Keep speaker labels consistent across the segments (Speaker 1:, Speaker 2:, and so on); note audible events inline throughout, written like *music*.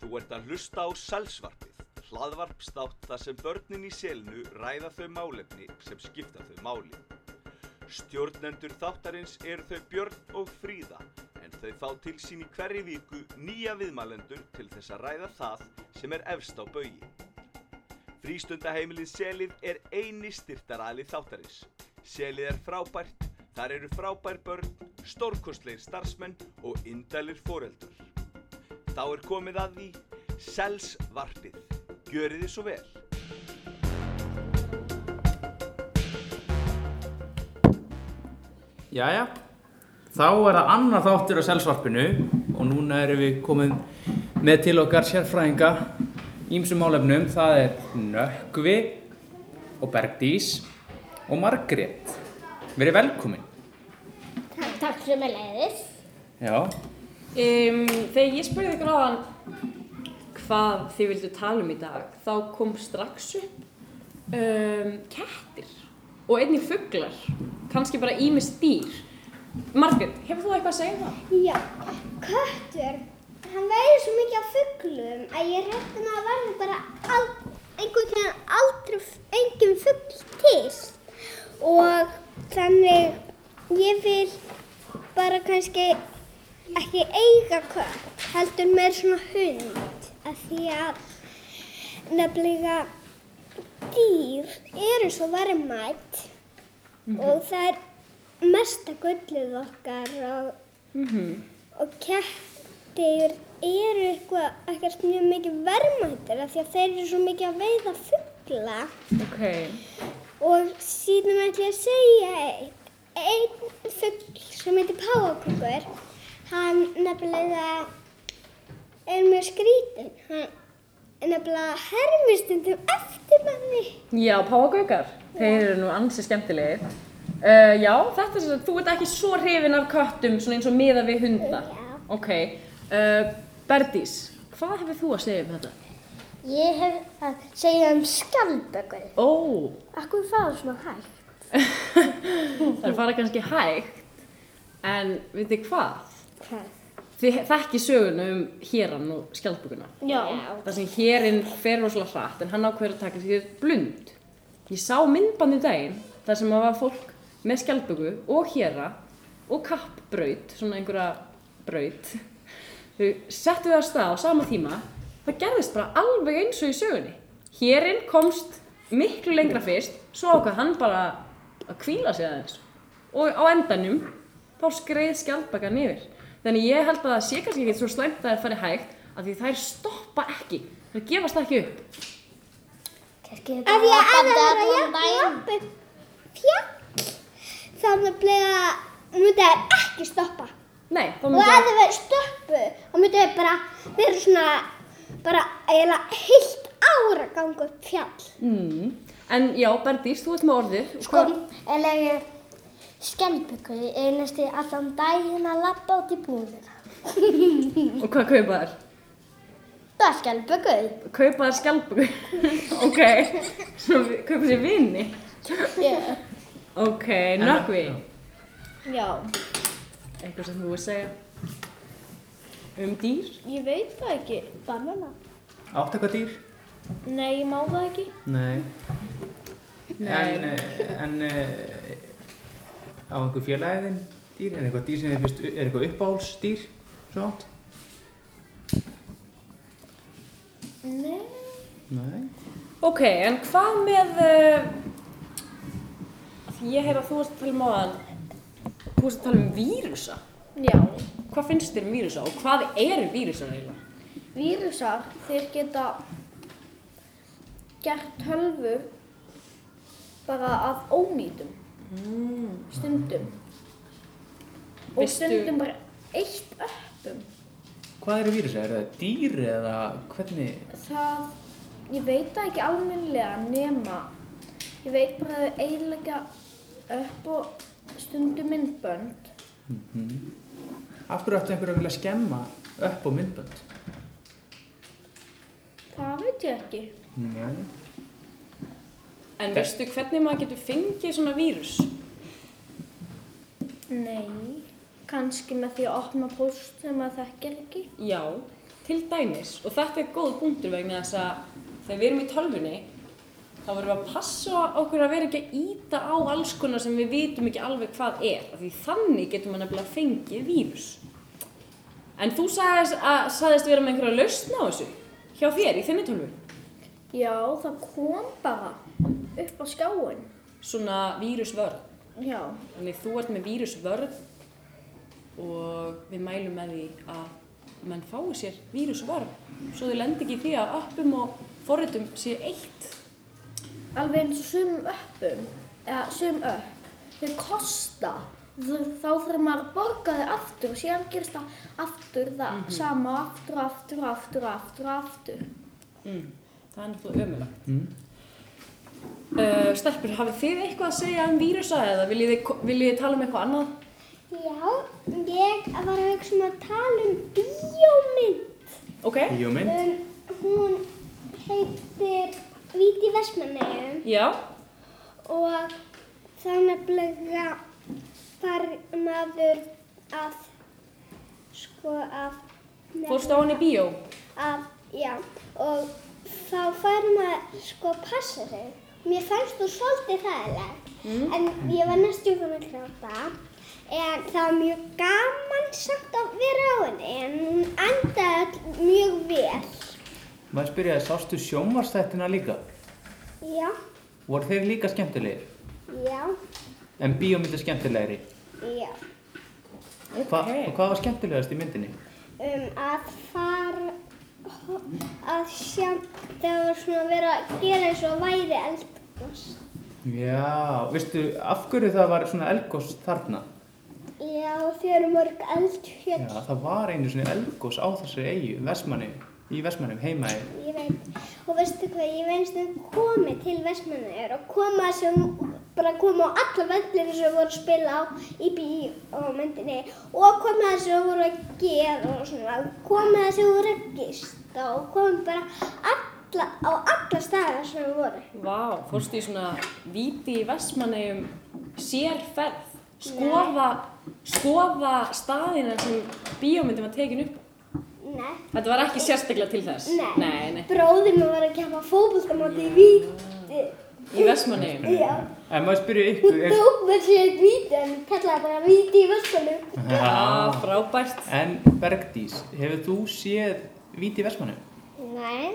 Speaker 1: Þú ert að hlusta á Sælsvarpið, hlaðvarpstátt þar sem börnin í selinu ræða þau málefni sem skipta þau máli. Stjórnendur þáttarins eru þau Björn og Fríða, en þau fá til sín í hverri viku nýja viðmælendur til þess að ræða það sem er efst á baugi. Frístundaheimilið Selið er eini styrtaræli þáttarins. Selið er frábært, þar eru frábær börn, stórkostleir starfsmenn og indælir foreldur. Þá er komið að því Selsvarpið. Gjörið þið svo vel.
Speaker 2: Jæja, þá er það annað þáttur á selsvarpinu og núna erum við komin með til okkar sérfræðinga ímsum málefnum, það er Nökkvi og Bergdís og Margrét. Verið velkomin.
Speaker 3: Takk, takk sem er leiðis.
Speaker 2: Já,
Speaker 4: Um, þegar ég spurði ykkur áðan hvað þið vildu tala um í dag, þá kom strax upp um, kettir og einni fuglar, kannski bara ímis dýr. Margrét, hefur þú eitthvað að segja um það?
Speaker 3: Já, köttur, hann veiði svo mikið af fugglum að ég rétti hann að verði bara al, einhvern veginn aldrei f- engin fuggl til. Og þannig ég vil bara kannski ekki eiga kött, heldur meir svona hund. Af því að nefnilega dýr eru svo varmætt og það er mesta gullið okkar og Og kettir eru eitthvað, ekkert mjög mikið verðmættir af því að þeir eru svo mikið að veiða fuggla.
Speaker 4: Ok.
Speaker 3: Og síðan ætlum ég að segja eitt. Einn fuggl sem heitir páfakökur, hann nefnilega er mjög skrítinn. Hann nefnilega hermir stundum eftir manni.
Speaker 4: Já, páfagaukar, þeir eru nú ansi skemmtilegir. Uh, já, þetta er sem sagt, þú ert ekki svo hrifin af köttum, svona eins og miða við hunda.
Speaker 3: Já.
Speaker 4: Ok, uh, Berdís, hvað hefur þú að segja um þetta?
Speaker 3: Ég hef að segja um skjaldbökur.
Speaker 4: Ó,
Speaker 3: Akkur fá svona hægt?
Speaker 4: Það fara kannski hægt, en veit þið hvað?
Speaker 3: Hvað?
Speaker 4: Þið þekki söguna um héran og skjaldbökuna.
Speaker 3: Já.
Speaker 4: Það sem hérinn fer rosalega hratt, en hann ákveður að taka sér blund. Ég sá myndbandi um daginn, þar sem að var fólk með skjaldböku og héra og kappbraut, svona einhverja braut. Þau settu það á stað á sama tíma, það gerðist bara alveg eins og í sögunni. Hérinn komst miklu lengra fyrst, svo ákvað hann bara að kvíla sig aðeins. Og á endanum, þá skreið skjaldbakan yfir. Þannig ég held að það sé kannski ekki svo slæmt að það er farið hægt, af því þær stoppa ekki, þær gefast ekki upp.
Speaker 3: Af því að ef það var að
Speaker 5: um
Speaker 3: jafna upp fjall, þá nefnilega myndi það ekki stoppa.
Speaker 4: Nei, þá
Speaker 3: Og
Speaker 4: myndi
Speaker 3: ef
Speaker 4: að...
Speaker 3: það verið stoppu, þá myndi það bara vera svona, bara eiginlega heilt ára ganga upp fjall.
Speaker 4: Mm. En já, Berdís, þú ert með orðið.
Speaker 5: Sko, eða ég skjálpöku er næstu allan daginn að lappa út í búðina.
Speaker 4: Og hvað kaupa þær?
Speaker 5: Það er skjálpöku.
Speaker 4: Kaupa þær skjaldböku. *laughs* ok, svo vi- kaupa sér vini. ok, nökkvi.
Speaker 6: Já,
Speaker 4: Eitthvað sem þú vil segja um dýr?
Speaker 6: ég veit það ekki. Banana?
Speaker 2: átt eitthvað dýr?
Speaker 6: Nei, ég má það ekki.
Speaker 2: Nei.
Speaker 4: Nei.
Speaker 2: En, eh, en eh, á einhver félagin dýr, er eitthvað dýr sem er, er eitthvað uppáhalsdýr, svo átt? Nei. Nei.
Speaker 4: Ok, en hvað með, uh, ég heyr að þú varst að tala um áðan, þú varst að tala um vírusa.
Speaker 6: Já,
Speaker 4: Hvað finnst þér um vírusa og hvað eru vírusa eiginlega?
Speaker 6: vírusar, þeir geta gert tölvu bara að ónýtum Mm. stundum. Og
Speaker 4: Veistu-
Speaker 6: stundum bara eitt öppum.
Speaker 2: Hvað eru vírusar? Er það dýr eða hvernig?
Speaker 6: Það, ég veit það ekki almennilega nema, ég veit bara að þau eiginlega upp og stundum myndbönd.
Speaker 2: Af hverju ættu einhverju að vilja skemma upp á myndbönd?
Speaker 6: Það veit ég ekki.
Speaker 2: Nei.
Speaker 4: En veistu hvernig maður getur fengið svona vírus?
Speaker 6: Nei, kannski með því að opna póst sem maður þekkir ekki.
Speaker 4: Já, til dæmis, og þetta er góð punktur vegna þess að þegar við erum í tölvunni þá verðum við að passa okkur að vera ekki að íta á alls konar sem við vitum ekki alveg hvað er af því þannig getum við nefnilega fengið vírus en þú sagðist, að, sagðist vera með einhverja lausn á þessu hjá þér í þinni tölvu
Speaker 6: Já, það kom bara upp á skjáin.
Speaker 4: svona vírusvörn
Speaker 6: Já,
Speaker 4: Þannig þú ert með vírusvörð og við mælum með því að menn fái sér vírusvörð svo þau lendi ekki í því að appum og forritum sé eitt.
Speaker 6: alveg eins og sumum öppum, eða sum öpp, þau kosta. Þau- Þá þarf maður að borga þau aftur og síðan gerist það aftur það sama og aftur og aftur og aftur og aftur og aftur.
Speaker 4: Mm. Það er náttúrulega ömulegt. Mm. Uh, Stelpur, hafið þið eitthvað að segja um vírusa eða viljið þið, viljið þið tala um eitthvað annað?
Speaker 3: Já, ég var að hugsa um að tala um bíómynd.
Speaker 4: Ok?
Speaker 2: Bíómynd?
Speaker 3: Um, hún heitir Víti Vestmanneum
Speaker 4: Já?
Speaker 3: og þá nefnilega var maður að sko að
Speaker 4: Fórstu á hann í bíó?
Speaker 3: að, já, og þá fær maður sko að passa sig. Mér fannst þú svolítið þægileg, en ég var næstu komin að gráta. En það var mjög gaman samt að vera á henni, en hún andaði öll mjög vel.
Speaker 2: Maður spyrjaði, sástu sjónvarstættina líka?
Speaker 3: Já,
Speaker 2: Voru þeir líka skemmtilegir?
Speaker 3: já,
Speaker 2: En bíómynd er skemmtilegri.
Speaker 3: já.
Speaker 2: Hva, og hvað var skemmtilegast í myndinni?
Speaker 3: Um að fara að sjá, það var svona að vera að gera eins og væri eldgóðs.
Speaker 2: Já, veistu, af hverju það var svona elgós þarna?
Speaker 3: Já, þau eru mörg
Speaker 2: Já,
Speaker 3: eldfjöld.
Speaker 2: það var einu svona elgós á þessari eigu, Vestmanni, í Vestmannum, heima í.
Speaker 3: Ég veit, og veistu hvað, ég veist um komið til Vestmannaður og koma sem, bara koma á alla vellinu sem voru að spila á í bíómyndinni og koma það sem voru að gera og svona, koma það sem voru að gista og komið bara alla, á alla staðar sem voru.
Speaker 4: Vá, fórstu í svona víti í Vestmannegjum sérferð, skoða, skoða staðina sem bíómyndin var tekin upp á.
Speaker 3: Nei,
Speaker 4: Þetta var ekki sérstaklega til þess?
Speaker 3: Nei.
Speaker 4: Nei, nei.
Speaker 3: bróðir mér var að keppa fótboltamáti í víti.
Speaker 4: Í Vestmannegjum?
Speaker 3: Já,
Speaker 2: En maður spyrja ykkur,
Speaker 3: hún
Speaker 2: er,
Speaker 3: tók mér sér eitt víti en kallaði bara víti í Vestmannaður.
Speaker 4: Já,
Speaker 2: *laughs*
Speaker 4: frábært.
Speaker 2: en Bergdís, hefur þú séð Víti í Vestmannum?
Speaker 3: Nei.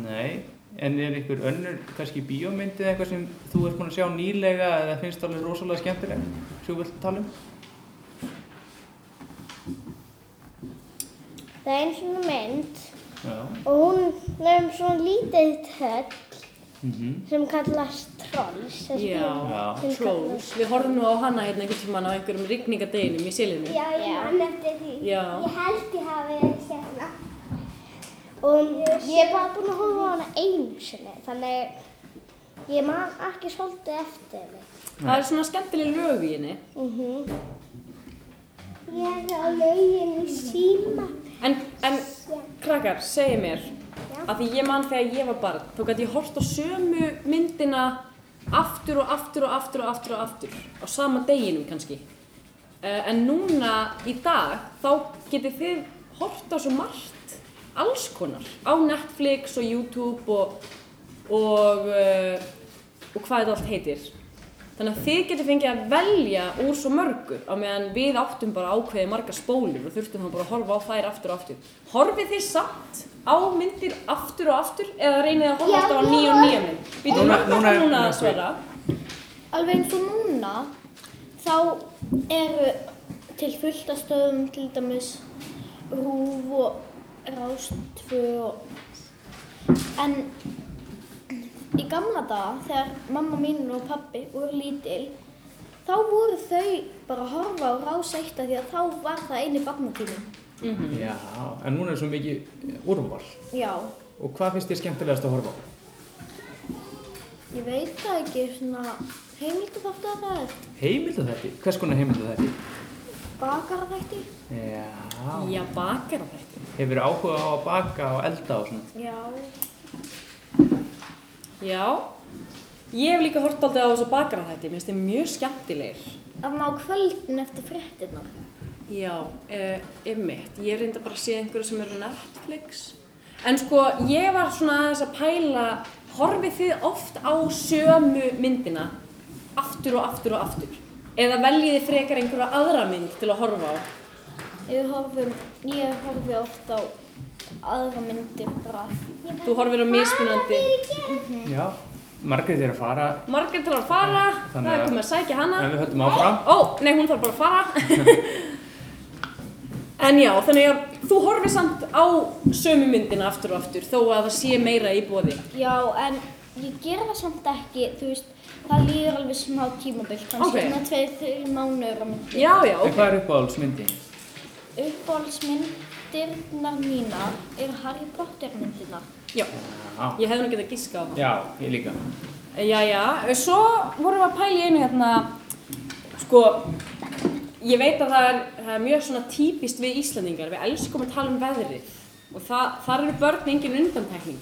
Speaker 2: Nei, en er ykkur önnur, kannski bíómynd eða eitthvað sem þú ert búin að sjá nýlega eða finnst alveg rosalega skemmtileg, sem þú vilt tala um?
Speaker 5: Það er eins og mynd
Speaker 2: Já.
Speaker 5: og hún er um svona lítið töll
Speaker 2: Mm
Speaker 5: sem kallast Trolls. þessi mynd.
Speaker 4: Já,
Speaker 5: Hún
Speaker 4: Trolls. Við horfum nú á hana hérna einhvern tímann á einhverjum rigningadeginum í Silinu.
Speaker 3: Já, ég man eftir því.
Speaker 4: Já.
Speaker 3: Ég held ég hafi hérna.
Speaker 5: Og ég er bara búin að horfa á hana einu sinni, þannig ég man ekki svolítið eftir henni.
Speaker 4: Það er svona skemmtileg lög í henni.
Speaker 3: Ég er á lauginu síma.
Speaker 4: En, en krakkar, segi mér, að því ég man þegar ég var barn, þá gæti ég hort á sömu myndina aftur og aftur og aftur og aftur og aftur, á sama deginum kannski. Uh, en núna í dag, þá getið þið hort á svo margt, alls konar, á Netflix og YouTube og, og, uh, og hvað þetta allt heitir. Þannig að þið getur fengið að velja úr svo mörgu á meðan við áttum bara ákveðið marga spólur og þurftum þá bara að horfa á þær aftur og aftur. Horfið þið samt á myndir aftur og aftur eða reynið að horfa
Speaker 3: Já,
Speaker 4: alltaf á
Speaker 3: já.
Speaker 4: nýja og nýja mynd? Býtum
Speaker 2: Núna-
Speaker 4: við
Speaker 2: núna-
Speaker 4: hvað það núna
Speaker 2: núna-
Speaker 4: að svara?
Speaker 6: Alveg eins og núna, þá eru til fullt af stöðum, til dæmis rúf og rástfö og... En í gamla daga, þegar mamma mín og pabbi voru lítil, þá voru þau bara að horfa á rás eitt af því að þá var það eini barnatíminn.
Speaker 2: Mhm. Já, en núna er svo mikið úrval.
Speaker 6: Já,
Speaker 2: Og hvað finnst þér skemmtilegast að horfa á?
Speaker 6: ég veit það ekki, svona heimildaþáttu að það er
Speaker 2: Heimildu þetta? Hvers konar heimildu þetta?
Speaker 6: bakarþætti.
Speaker 2: Já.
Speaker 4: Já, bakar þetta.
Speaker 2: Hefur áhuga á að baka og elda og svona?
Speaker 6: Já.
Speaker 4: Já, ég hef líka hort alltaf á þessu bakar þetta, mér finnst þið mjög skemmtilegir.
Speaker 6: að ná kvöldin eftir fréttirnar.
Speaker 4: Já, eh, einmitt. Ég reynda bara að sé einhverju sem eru á Netflix. En sko, ég var svona aðeins að pæla, horfið þið oft á sömu myndina, aftur og aftur og aftur? Eða veljið þið frekar einhverja aðra mynd til að horfa á?
Speaker 6: Ég horfi, ég horfi oft á aðra myndir bara.
Speaker 4: Þú horfir á mismunandi.
Speaker 2: Já, margrið er að fara
Speaker 4: Margrét þarf að fara, það
Speaker 2: Þannig
Speaker 4: er
Speaker 2: að-
Speaker 4: komið að sækja hana.
Speaker 2: en við höldum áfram.
Speaker 4: Ó, nei, hún þarf bara að fara. en já, þannig að þú horfir samt á sömu myndina aftur og aftur, þó að það sé meira í bóði.
Speaker 6: Já, en ég gera það samt ekki, þú veist, það líður alveg smá tímabill, kannski
Speaker 4: Ókei.
Speaker 6: svona tveir, þurr mánuður á myndi.
Speaker 4: Já, já,
Speaker 2: En hvað er uppáhaldsmyndin?
Speaker 6: Uppáhaldsmyndirnar mínar eru Harry Potter myndirnar.
Speaker 4: Já, ég hefði nú getað gíska á það.
Speaker 2: Já, ég líka
Speaker 4: Jæja, svo vorum við að pæla í einu hérna, sko, ég veit að það er, það er mjög svona típist við Íslandingar, við elskum að tala um veðrið og það, þar eru börn engin undantekning.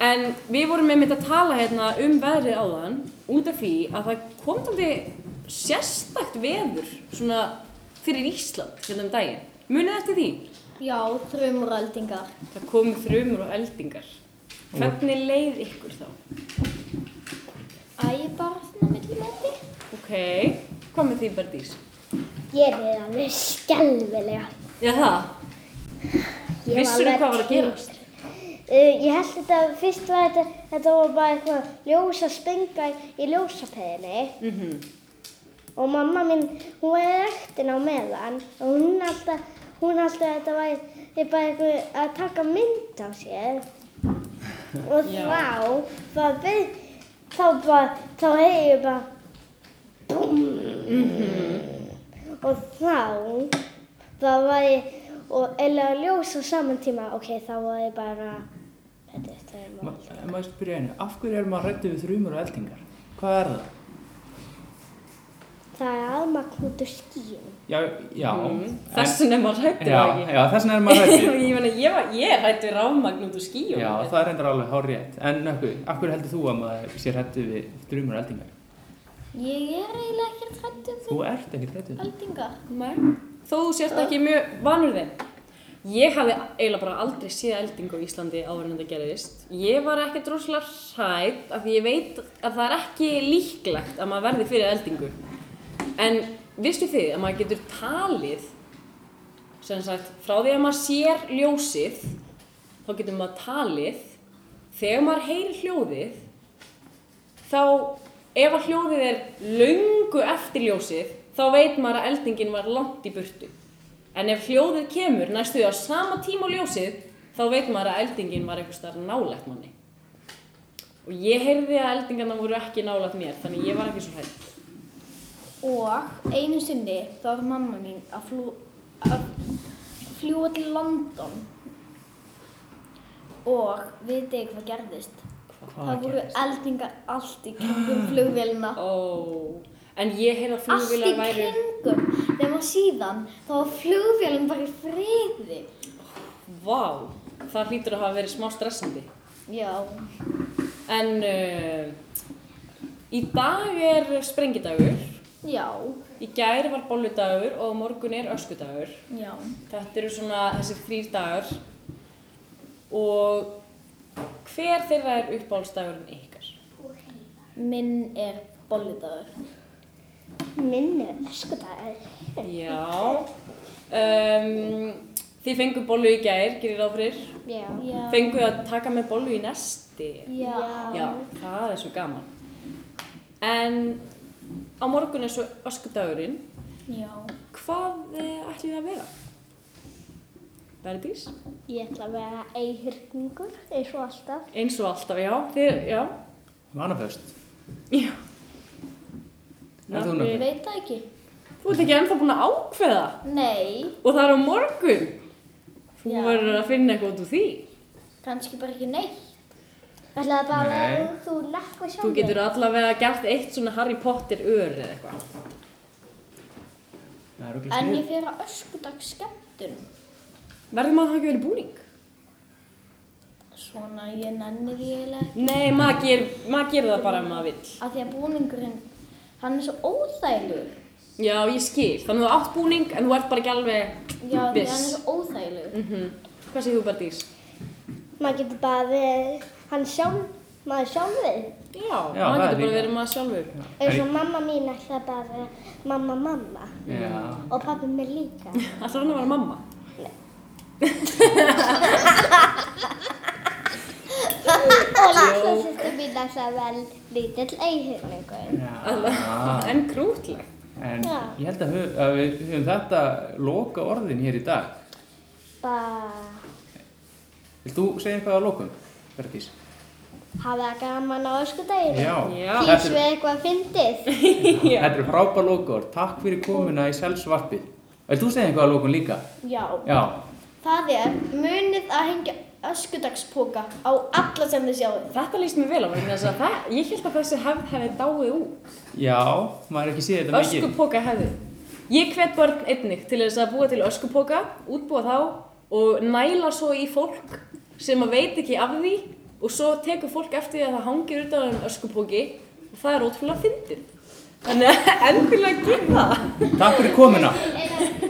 Speaker 4: En við vorum einmitt að tala hérna um veðrið áðan út af því að það kom þetta sérstakt veður svona fyrir Ísland hérna um daginn. Munið eftir því?
Speaker 6: Já, þrumuröldingar.
Speaker 4: Það komu þrumur og eldingar. Hvernig leið ykkur þá?
Speaker 6: Æ, bara svona millimóti.
Speaker 4: Ok, hvað með því Berdís?
Speaker 5: Ég er alveg skelvilega.
Speaker 4: Já það,
Speaker 5: Ég var
Speaker 4: vissur þú
Speaker 5: alveg
Speaker 4: hvað var að
Speaker 5: til-
Speaker 4: gerast?
Speaker 5: Uh, ég held þetta, fyrst var þetta, þetta var bara eitthvað ljós að spenga í, í ljósapeðinni
Speaker 4: Mm
Speaker 5: og mamma mín, hún var í rektin á meðan og hún alltaf, hún alltaf að þetta var bara eitthvað að taka mynd á sér og
Speaker 4: Já.
Speaker 5: þá, þá, byrj, þá bara, þá heyri ég bara BOOM og þá, þá var ég, og eiginlega ljós á saman tíma, ok, þá var ég bara, þetta er þetta er
Speaker 2: Ma-
Speaker 5: mál.
Speaker 2: En maður spyrja einu, af hverju er maður hrættu við þrjumur og eldingar? Hvað er það?
Speaker 5: Það er aðmagn út úr skíum.
Speaker 2: Já, já
Speaker 4: Þessin Mm, er maður
Speaker 2: en,
Speaker 4: hrættur
Speaker 2: já,
Speaker 4: það ekki
Speaker 2: já, þessin er maður
Speaker 4: *laughs*
Speaker 2: hrættu
Speaker 4: Ég meina, ég, var, ég er hrættur rafmagn út úr skíum
Speaker 2: Já, það er reyndar alveg hár rétt En nökku, af hverju heldur þú að maður sé hrættu við þrjumur og eldingar?
Speaker 6: Ég er eiginlega ekkert hrætt um
Speaker 2: Þú ert ekkert hrættu við
Speaker 6: þrumuröldingar.
Speaker 4: Nei, þó þú sért ekki mjög vanur þeim Ég hafði eiginlega bara aldrei séð eldingu á Íslandi áður en þetta gerðist Ég var ekki droslega hrætt af því ég veit að það er ekki líklegt að maður verði fyrir eldingu En vistu þið að maður getur talið sem sagt, frá því að maður sér ljósið þá getur maður talið þegar maður heyrir hljóðið þá ef að hljóðið er löngu eftir ljósið þá veit maður að eldingin var langt í burtu en ef hljóðið kemur næstu á sama tíma og ljósið þá veit maður að eldingin var einhvers þar nálægt manni og ég heyrði að eldingarna voru ekki nálægt mér þannig ég var ekki svo hægt
Speaker 6: Og einu sinni þá var mamma mín að, flú, að fljúa til London og vitið þið hvað gerðist? það voru eldingar allt í kringum flugvélina.
Speaker 4: Ó, en ég heyrði að
Speaker 6: Ah. Allt í
Speaker 4: flugvilar væru
Speaker 6: kringum, nema síðan þá var flugvélin bara í friði.
Speaker 4: Vá, það hlýtur að hafa verið smá stressandi
Speaker 6: Já,
Speaker 4: en uh, í dag er sprengidagur
Speaker 6: já,
Speaker 4: Í gær var bolludagur og á morgun er öskudagur.
Speaker 6: já.
Speaker 4: Þetta eru svona þessir þrýr dagar og hver þeirra er uppáhaldsdagurinn ykkar?
Speaker 6: Minn er bollidagur.
Speaker 5: Minni öskudagur.
Speaker 4: Já, um, þið fengu bollu í gær, gerir ráð fyrir.
Speaker 5: Já.
Speaker 6: Já.
Speaker 4: Fengu að taka með bollu í nesti.
Speaker 6: Já.
Speaker 4: Já, það er svo gaman. En á morgun er svo öskudagurinn.
Speaker 6: Já.
Speaker 4: Hvað eh, ætlið þið að vera? Verðís?
Speaker 5: Ég ætla að vera eihyrningur eins og alltaf.
Speaker 4: Eins og alltaf, já. Þið, já.
Speaker 2: Manafest
Speaker 4: Já.
Speaker 2: En þú
Speaker 6: Ég
Speaker 2: nökku?
Speaker 6: veit það ekki.
Speaker 4: Þú ert ekki ennþá búin að ákveða
Speaker 6: Nei,
Speaker 4: og það er á morgun. Þú
Speaker 6: Já.
Speaker 4: verður að finna eitthvað út úr því.
Speaker 6: kannski bara ekki neitt.
Speaker 5: Ég ætla bara að
Speaker 2: Nei.
Speaker 5: vera þú lakka sjálf.
Speaker 4: Þú getur allavega gert eitt svona Harry Potter ör eða eitthvað.
Speaker 2: Það er okkur
Speaker 6: En
Speaker 2: snið
Speaker 6: ég fyrir að öskudags skemmtun.
Speaker 4: Verður maður það ekki verið búning?
Speaker 6: Svona ég nenni því eiginlega. ekki.
Speaker 4: Nei, maður ger, maður gerir það bara ef maður vill.
Speaker 6: Af því að búningurinn, hann er svo óþægilegur.
Speaker 4: Já, ég skil. Þannig að þú átt búning en þú ert bara ekki alveg
Speaker 6: Já, því hann er
Speaker 4: viss.
Speaker 6: svo óþægilegur.
Speaker 4: Hvað segir þú bara dís?
Speaker 3: Maður getur bara verið, hann sjálf, maður sjálfur.
Speaker 4: Já,
Speaker 2: Já,
Speaker 4: maður
Speaker 2: það er
Speaker 4: getur bara
Speaker 2: líka.
Speaker 4: verið maður sjálfur.
Speaker 3: Eins og mamma mín ætlaði bara að vera mamma mamma.
Speaker 2: Já.
Speaker 3: Og pappi mér líka.
Speaker 4: Alltaf hann að vera mamma.
Speaker 3: og litla sýstu mín ætlaði að vera lítill eiginlegur.
Speaker 2: Já.
Speaker 4: En krútlegt.
Speaker 2: En
Speaker 3: Já.
Speaker 2: ég held að, hö- að við höfum þetta loka orðin hér í dag.
Speaker 3: Bara
Speaker 2: Vilt þú segja eitthvað að lokum, Bergdís?
Speaker 3: hafa það gaman á öskudaginu.
Speaker 2: Já.
Speaker 4: Já.
Speaker 3: Kýs
Speaker 2: Þetta
Speaker 3: við eitthvað fyndið.
Speaker 2: eru- þetta eru frábær lokaord. Takk fyrir komuna í selsvarpið. Vilt þú segja eitthvað að lokum líka?
Speaker 6: Já.
Speaker 2: Já.
Speaker 6: Það er munið að hengja öskudagspoka á alla sem þið sjáu.
Speaker 4: *laughs* Þetta líst mér vel á vegna þess að það, ég held að þessi hefð hefði dáið út.
Speaker 2: Já, maður er ekki séð þetta mikið.
Speaker 4: Öskupoka hefði. Ég hvet börn einnig til þess að búa til öskupoka, útbúa þá og næla svo í fólk sem að veit ekki af því og svo tekur fólk eftir því að það hangir utan á þeim öskupoki og *laughs* það er ótrúlega fyndið. Þannig að endilega gera það.
Speaker 2: Takk fyrir komuna.